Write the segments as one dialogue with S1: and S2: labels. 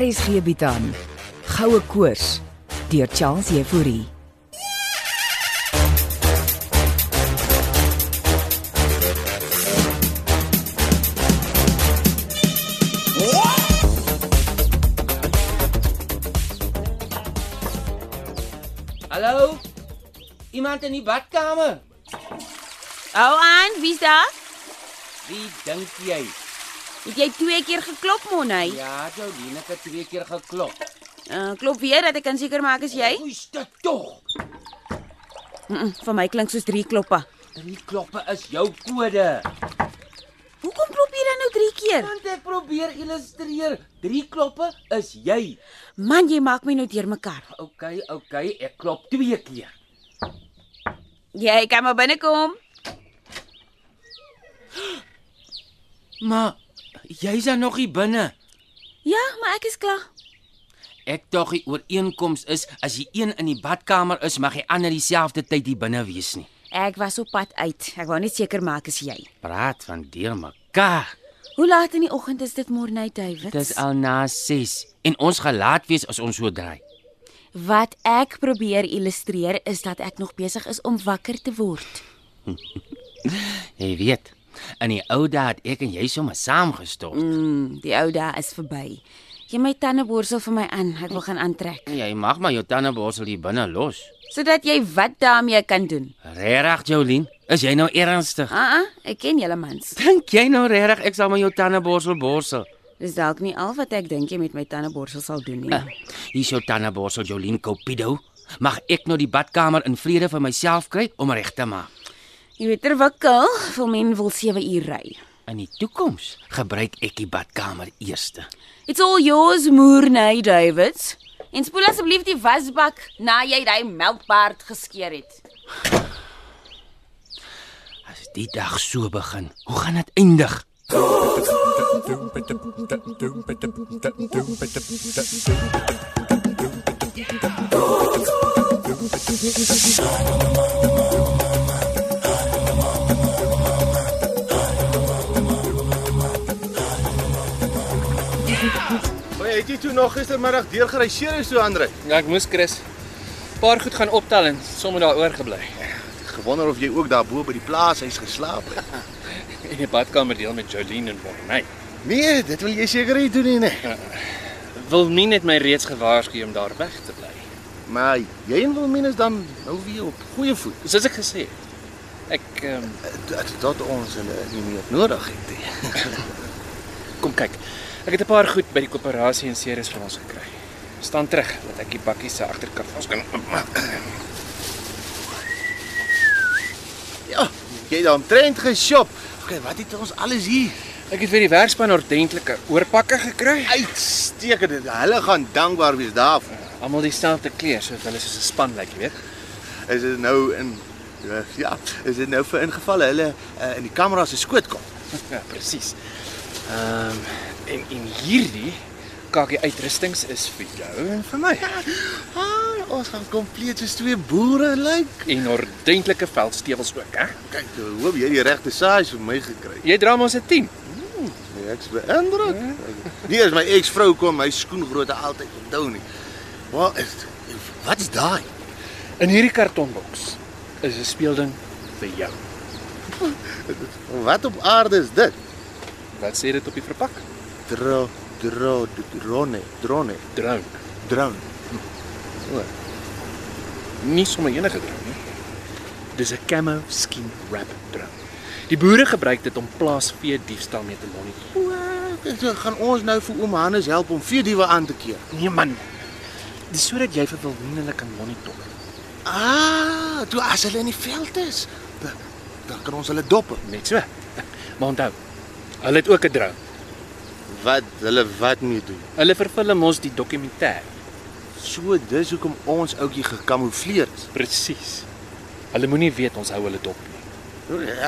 S1: RSG bied aan Goue Koors deur Charles Jefouri.
S2: Hallo? Iemand in die badkamer?
S3: Hou aan, wie's daar?
S2: Wie dink jy?
S3: Het jy twee keer geklop, Monnie?
S2: Ja, Jolene het twee keer geklop.
S3: Uh, klop weer dat ek kan seker maak is jy.
S2: Hoe is dit tog?
S3: Mm -mm, vir my klink soos drie kloppe.
S2: Drie kloppe is jou kode.
S3: Hoekom klop jy dan nou drie keer?
S2: Want ek probeer illustreer, drie kloppe is jy.
S3: Man, jy maak my nou deurmekaar.
S2: OK, OK, ek klop twee keer.
S3: Jy kan maar binnekom.
S2: Maar jy's dan nog hier binne.
S3: Ja, maar ek is klaar.
S2: Ek dink die ooreenkoms is as jy een in die badkamer is, mag die ander dieselfde tyd hier binne wees nie.
S3: Ek was op pad uit. Ek wou net seker maak is jy.
S2: Praat van deurmekaar.
S3: Hoe laat in die oggend is dit, Morney Davids?
S2: Dis al na 6 en ons gaan laat wees as ons so draai.
S3: Wat ek probeer illustreer is dat ek nog besig is om wakker te word.
S2: Jy weet, in die ou dae het ek en jy sommer saam gestop. Mm.
S3: Mm, die ou dae is verby. Jy my tandeborsel vir my aan. Ek wil gaan aantrek.
S2: Jy mag maar jou tande borsel hier binne los.
S3: sodat jy wat daarmee kan doen.
S2: Regtig, Jolien? Is jy nou ernstig?
S3: Ah, ah ek ken julle mans.
S2: Dink jy nou regtig ek sal maar jou tande borsel borsel?
S3: Dis dalk nie al wat ek dink jy met my tandeborsel sal doen nie.
S2: Uh, hier is jou tande borsel, Jolien Cupido. Mag ek nou die badkamer in vrede vir myself kry om reg te maak?
S3: Jy weet terwikkel, veel mense wil 7 uur ry.
S2: In die toekoms gebruik ek die badkamer eerste.
S3: It's all yours, Moorney Davids. En spoel asseblief die wasbak na jy daai melkbaard geskeer het.
S2: As die dag so begin, hoe gaan dit eindig?
S4: Maar het jy toe nog gistermiddag deurgery seer so Andre?
S5: Ja, ek moes Chris paar goed gaan optel en sommer daaroor gebly.
S4: Gewonder of jy ook daarbo by die plaashuis geslaap het.
S5: In die badkamer deel met Jolene en Bonnie.
S4: Nee, dit wil jy seker nie doen nie, nee.
S5: Wil nie net my reeds gewaarsku om daar weg te bly.
S4: Maar jy en Wilmin is dan nou weer op goeie voet.
S5: Soos ek gesê het. Ek ehm um,
S4: Dat, dat ons hulle nie meer nodig het nie.
S5: kom kyk. Ek het 'n paar goed by die koöperasie en Ceres vir ons gekry. Staan terug dat ek die bakkie se agterkant ons kan oopmaak.
S4: Ja, jy het omtrent geshop. Okay, wat het ons alles hier?
S5: Ek het vir die werkspan ordentlike oorpakke gekry.
S4: Uitstekend. Hulle gaan dankbaar wees daarvoor.
S5: Almal dieselfde kleur sodat hulle soos 'n span lyk, jy weet.
S4: Is dit nou in ja, is dit nou vir ingevalle hulle uh, in die kamera se skoot kom.
S5: Ja, presies. Ehm um, en en hierdie kakkie uitrustings is vir jou en vir my.
S4: Ja. Ah, ons gaan kompleet soos twee boere lyk.
S5: En ordentlike veldstewels ook, hè?
S4: Kyk, ek hoop eh, jy het die regte size vir my gekry.
S5: Jy dra mos 'n 10.
S4: Nee, ek's beïndruk. Nie as my eksvrou kom, my skoengrootte altyd onthou nie. Wat is wat's daai?
S5: In hierdie kartonboks is 'n speelding vir jou.
S4: Wat op aarde is dit?
S5: Wat sê dit op die verpak?
S4: Dro dro drone, drone,
S5: Drone.
S4: drone.
S5: Nie sommer enige drone nie. Dis 'n camo skin wrap drone. Die boere gebruik dit om plaasvee diefstal mee te monitor.
S4: Dit gaan ons nou vir oom Hannes help om vier diewe aan te keer.
S5: Nee man. Dis sodat jy vir Wilhelmine hulle kan monitor.
S4: Ah, toe as hulle in die veld is, dan, dan kan ons hulle dop.
S5: Net so. Maar onthou, hulle het ook 'n drone.
S4: Wat hulle wat mee doen?
S5: Hulle vervul mos die dokumentêr.
S4: So dis hoekom ons ouetjie gekamoufleer is.
S5: Presies. Hulle moenie weet ons hou hulle dop nie.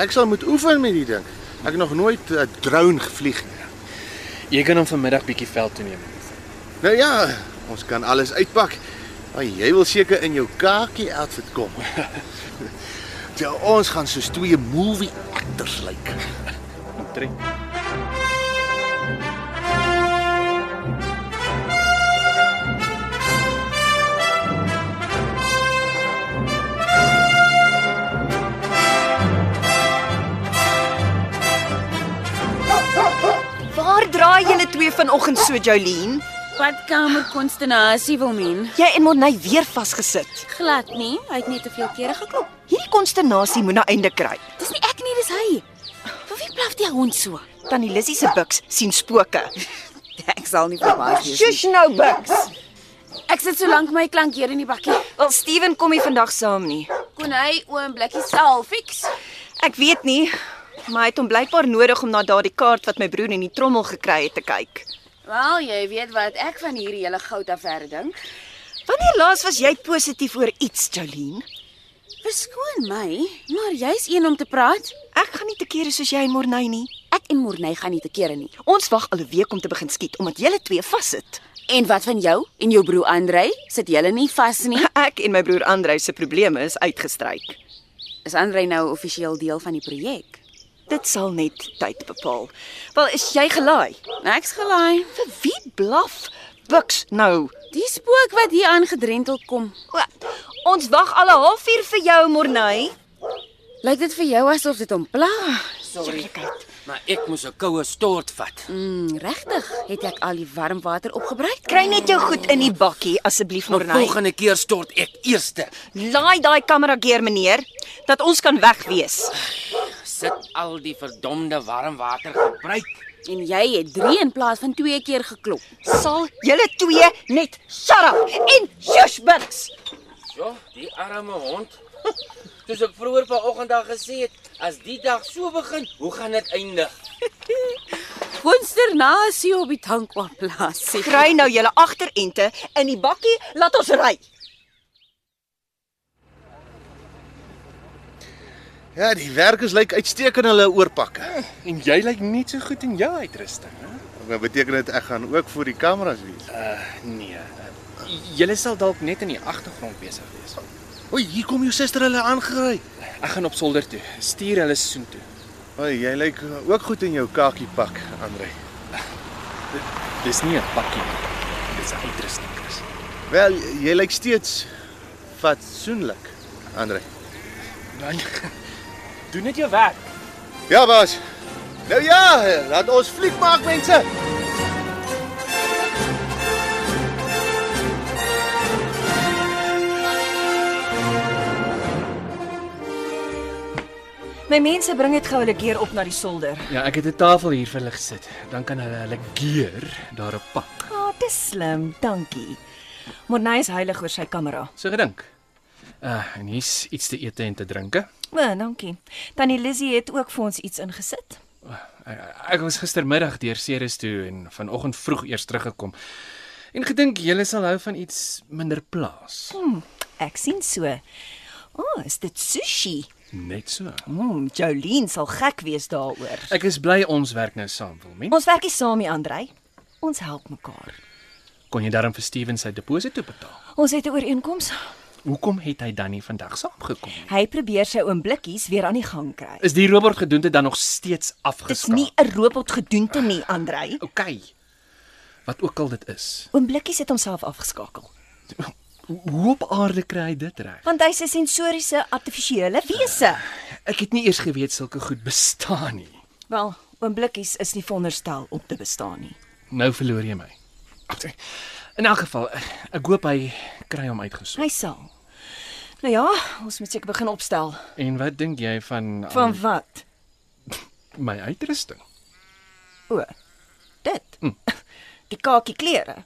S4: Ek sal moet oefen met die ding. Ek het nog nooit 'n drone gevlieg nie.
S5: Jy kan hom vanmiddag bietjie veld toe neem.
S4: Nou ja, ons kan alles uitpak. Maar jy wil seker in jou kakie outfit kom. ja, ons gaan soos twee movie actors lyk. Like.
S5: Omtrent.
S6: Praai julle twee vanoggend so Jolene?
S3: Badkamer konsternasie wil men.
S6: Jy en Morney weer vasgesit.
S3: Glad nie, hy het net te veel kere geklop.
S6: Hierdie konsternasie moet 'n einde kry.
S3: Dis nie ek nie, dis hy. Vir wie blaf die hond so?
S6: Tannie Lissy se buks sien spooke.
S3: Ek sal nie verbaas
S6: Shush nou buks.
S3: Ek sit so lank my klank hier in die bakkie.
S6: Wel Steven kom nie vandag saam nie.
S3: Kon hy oomblikkie self fix?
S6: Ek weet nie, maar hy het hom blykbaar nodig om na daardie kaart wat my broer in die trommel gekry het te kyk.
S3: Wel, jy weet wat ek van hierdie hele goud affære dink.
S6: Wanneer laas was jy positief oor iets, Jolene?
S3: Verskoon my, maar jy's een om te praat.
S6: Ek gaan nie te kere soos jy en Morney nie.
S3: Ek en Morney gaan nie te kere nie.
S6: Ons wag al 'n week om te begin skiet omdat julle twee vassit.
S3: En wat van jou en jou broer Andrei? Sit julle nie vas nie?
S6: Ek en my broer Andreu se probleme is uitgestryk.
S3: Is Andrei nou offisieel deel van die projek?
S6: Dit sal net tyd bepaal. Wel, is jy gelaai?
S3: Ek's gelaai.
S6: Vir wie blaf Bucks nou?
S3: Die spook wat hier aangedrentel kom,
S6: O, ons wag al 'n halfuur vir jou, Morney.
S3: lyk dit vir jou asof dit hom pla? Sorry.
S2: Maar ek moes 'n koue stort vat.
S3: Mm, regtig, het ek al die warm water opgebruik?
S6: Kry net jou goed in die bakkie asseblief,
S2: Maar
S6: Morney.
S2: volgende keer stort ek eerste.
S6: Laai daai kamera geer, meneer, dat ons kan wegwees.
S2: Sit al die verdomde warm water gebruik.
S3: En jy het 3 in plaas van 2 keer geklop.
S6: Sal julle twee net shut up en shush Bucks.
S2: Ja, die arme hond. Soos ek vroeër vanoggend daar gesê het, as die dag so begin, hoe gaan dit eindig?
S3: Konsternasie op die tankwa plaas.
S6: Kry nou julle agterente in die bakkie, laat ons ry.
S4: Ja, die werkers lyk uitstekend hulle oorpakke.
S5: En jy lyk net so goed in jou uitrusting, hè?
S4: Dit beteken dit ek gaan ook voor die kameras wees.
S5: Nee. Julle sal dalk net in die agtergrond besig wees.
S4: O, hier kom jou suster hulle aangery.
S5: Ek gaan op solder toe. Stuur hulle soontoe.
S4: O, jy lyk ook goed in jou kakie pak, Andre.
S5: Dis nie 'n pakkie nie. Dis 'n uitrusting, Chris.
S4: Wel, jy lyk steeds fatsoenlik, Andre.
S5: Dan doen net jou werk.
S4: Ja, baas. Nou ja, laat ons fliek maak, mense.
S6: My mense bring dit gou hulle keer op na die solder.
S5: Ja, ek het 'n tafel hier vir hulle gesit. Dan kan hulle hulle geur daarop pak.
S6: Ah, oh, dis slim, dankie. Morney is heilig oor sy kamera.
S5: So gedink. Uh, en hier's iets te eet en te drinke.
S6: O, dankie. Tannie Lizzie het ook vir ons iets ingesit.
S5: Ek, ek was gistermiddag deur Ceres toe en vanoggend vroeg eers teruggekom. En gedink julle sal hou van iets minder plaas.
S6: Hmm, Ek sien so. O, oh, is dit sushi?
S5: Net so.
S6: Mm, Jolene sal gek wees daaroor.
S5: Ek is bly ons werk nou saam, Wilmien.
S6: Ons werkie saam hier, Andrej. Ons help mekaar.
S5: Kon jy daarom vir Steven sy deposito betaal?
S6: Ons het 'n ooreenkoms.
S5: Hoekom het hy dan nie vandag saamgekom nie?
S6: Hy probeer sy oomblikkies weer aan die gang kry.
S5: Is die robot gedoente dan nog steeds
S6: Dit's
S5: afgeskaal?
S6: nie 'n robot gedoente nie, Andrej.
S5: OK. Wat ook al dit is.
S6: Oomblikkies het homself afgeskakel,
S5: Ho- Hoe op aarde kry hy dit reg?
S6: want hy's 'n sensoriese artifisiële wese.
S5: Ek het nie eers geweet sulke goed bestaan nie.
S6: Wel, oomblikkies is nie veronderstel om te bestaan nie.
S5: Nou verloor jy my. Ag, In elk geval, eh, ek hoop hy kry hom uitgesort.
S6: Hy sal. Nou ja, ons moet seker begin opstel.
S5: En wat dink jy van
S6: Van
S5: um,
S6: wat?
S5: my uitrusting?
S6: O. Dit. Die kakie klere.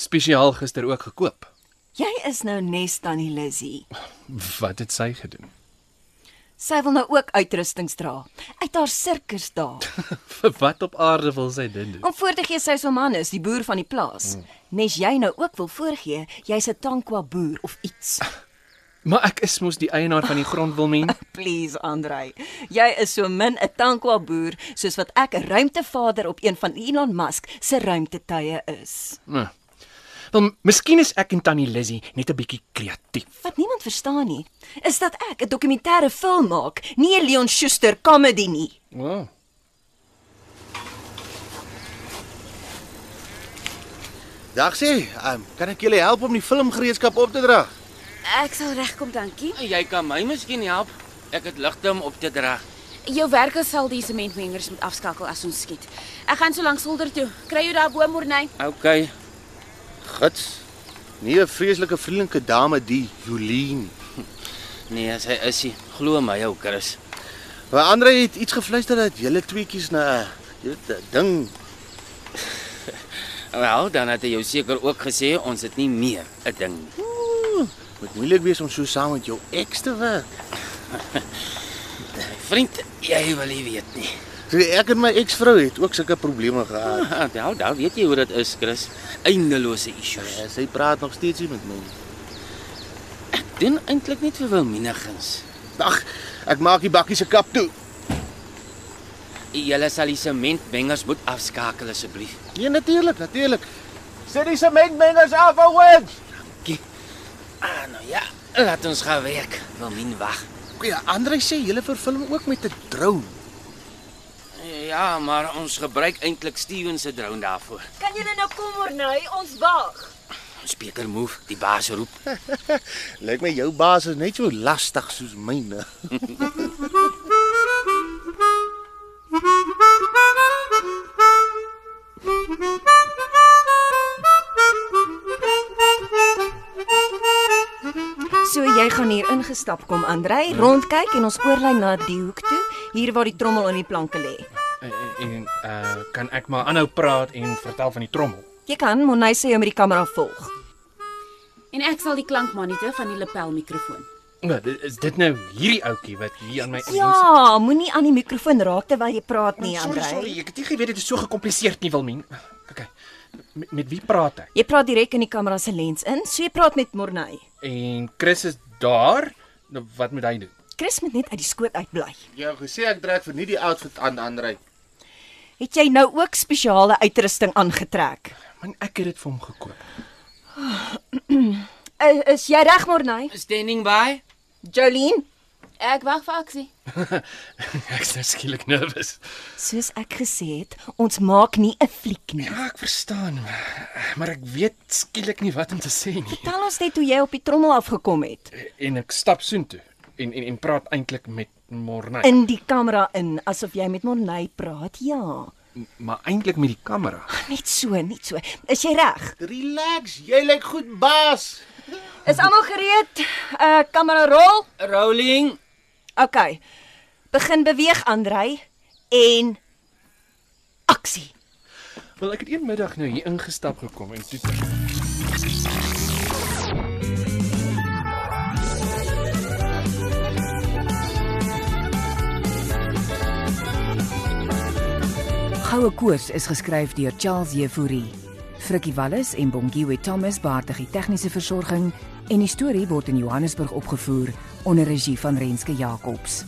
S5: Spesiaal gister ook gekoop.
S6: Jy is nou nes tannie Lizzy.
S5: Wat het sy gedoen?
S6: Sy wil nou ook uitrustings dra uit haar sirkus dae.
S5: Vir wat op aarde wil sy dit doen?
S6: Om voor te gee sy is 'n man is, die boer van die plaas. Nes jy nou ook wil voorgee jy's 'n tankwa boer of iets.
S5: Maar ek is mos die eienaar van die grond, Wilmien.
S6: Please Andrei, jy is so min 'n tankwa boer soos wat ek 'n ruimtevader op een van Elon Musk se ruimtetuie is.
S5: Hm. Wel, miskien is ek en Tannie Lizzy net 'n bietjie kreatief.
S6: Wat niemand verstaan nie, is dat ek 'n dokumentêre film maak, nie 'n Leon Schuster komedie nie.
S5: Wow.
S4: Dag sê, um, kan ek julle help om die filmgereedskap op te dra?
S3: Ek sal regkom, dankie.
S2: Jy kan my miskien help. Ek het ligte om op te dra.
S3: Jou werker sal die sementmengers moet afskakel as ons skiet. Ek gaan so lank solder toe. Kry jou daar bo Morney.
S2: Okay.
S4: Gits. Nee, 'n vreeslike vriendelike dame die Jolien.
S2: Nee, sy is ie. Glo my, ou Chris.
S4: Maar Andre het iets gefluister dat julle tweeetjies na 'n jy weet 'n ding
S2: Wel, dan het hy jou seker ook gesê ons het nie meer 'n ding nie.
S4: moet moeilik wees om so saam met jou ex te werk.
S2: Vriend, jy wil nie weet nie.
S4: So ek en my eksvrou het ook sulke probleme gehad.
S2: Ah, nou, nou weet jy hoe dit is, Chris. Eindelose issues.
S4: Ja, sy praat nog steeds nie met my. nie.
S2: Doen eintlik net vir Wilminigins.
S4: Ag, ek maak die bakkie se kap toe.
S2: Julle sal die sementmengers moet afskakel asseblief.
S4: Nee, natuurlik, natuurlik. Sit die sementmengers af, ouens.
S2: Ah, nou ja, laat ons gaan werk. Wilmin wag.
S4: Ja, Andre sê julle verfilm ook met 'n drone.
S2: Ja, maar ons gebruik eintlik Steven se drone daarvoor.
S7: Kan julle nou kom Morney, ons wag.
S2: Speaker move, die baas roep.
S4: Lyk my jou baas is net so lastig soos myne.
S6: So jy gaan hier ingestap kom, Andrej, rondkyk en ons oorlyn na die hoek toe, hier waar die trommel aan die planke lê.
S5: En, en uh kan ek maar aanhou praat en vertel van die trommel.
S6: Jy kan Monay se jou met die kamera volg.
S3: En ek sal die klank monitor van die lapelmikrofoon.
S5: Nou, dit- is dit nou hierdie ouetjie wat hier aan my
S6: Ja, nee, moenie aan die mikrofoon raak terwyl jy praat nie,
S5: sorry, sorry,
S6: Andrej.
S5: ek het nie geweet dit is so gekompliseerd nie, Wilmien. Okay. Met, met wie praat ek?
S6: Jy praat direk in die kamera se lens in, so jy praat met Mornay.
S5: En Chris is daar. Nou wat moet hy doen?
S6: Chris moet net uit die skoot uitbly.
S4: Ja, gesê ek trek vir nie die outfit aan Andre.
S6: Het jy nou ook spesiale uitrusting aangetrek?
S5: Man, ek het dit vir hom gekoop.
S6: Is, Eh, is jy reg, Mornay?
S2: Standing by.
S6: Jolene,
S3: Ek wag vir aksie.
S5: Ek's nou skielik nervus.
S6: soos ek gesê het, ons maak nie 'n fliek nie.
S5: Ja, ek verstaan, maar ek weet skielik nie wat om te sê nie.
S6: Tel ons net hoe jy op die trommel afgekom het.
S5: En ek stap soontoe en en en praat eintlik met Morney,
S6: In die kamera in, asof jy met Morney praat. Ja,
S5: maar eintlik met die kamera.
S6: net so, net so. Is jy reg?
S4: Relax, jy lyk goed, baas.
S6: Is almal gereed? Uh kamera rol.
S2: Rolling.
S6: OK. Begin beweeg, Andrej, en aksie.
S5: Wel, ek het een middag nou hier ingestap gekom en toe
S1: Goue koers is geskryf deur Charles Jefouri. Frikkie Wallis en Bongiwe Thomas baartig die tegniese versorging en die storie word in Johannesburg opgevoer onder regie van Renske Jacobs.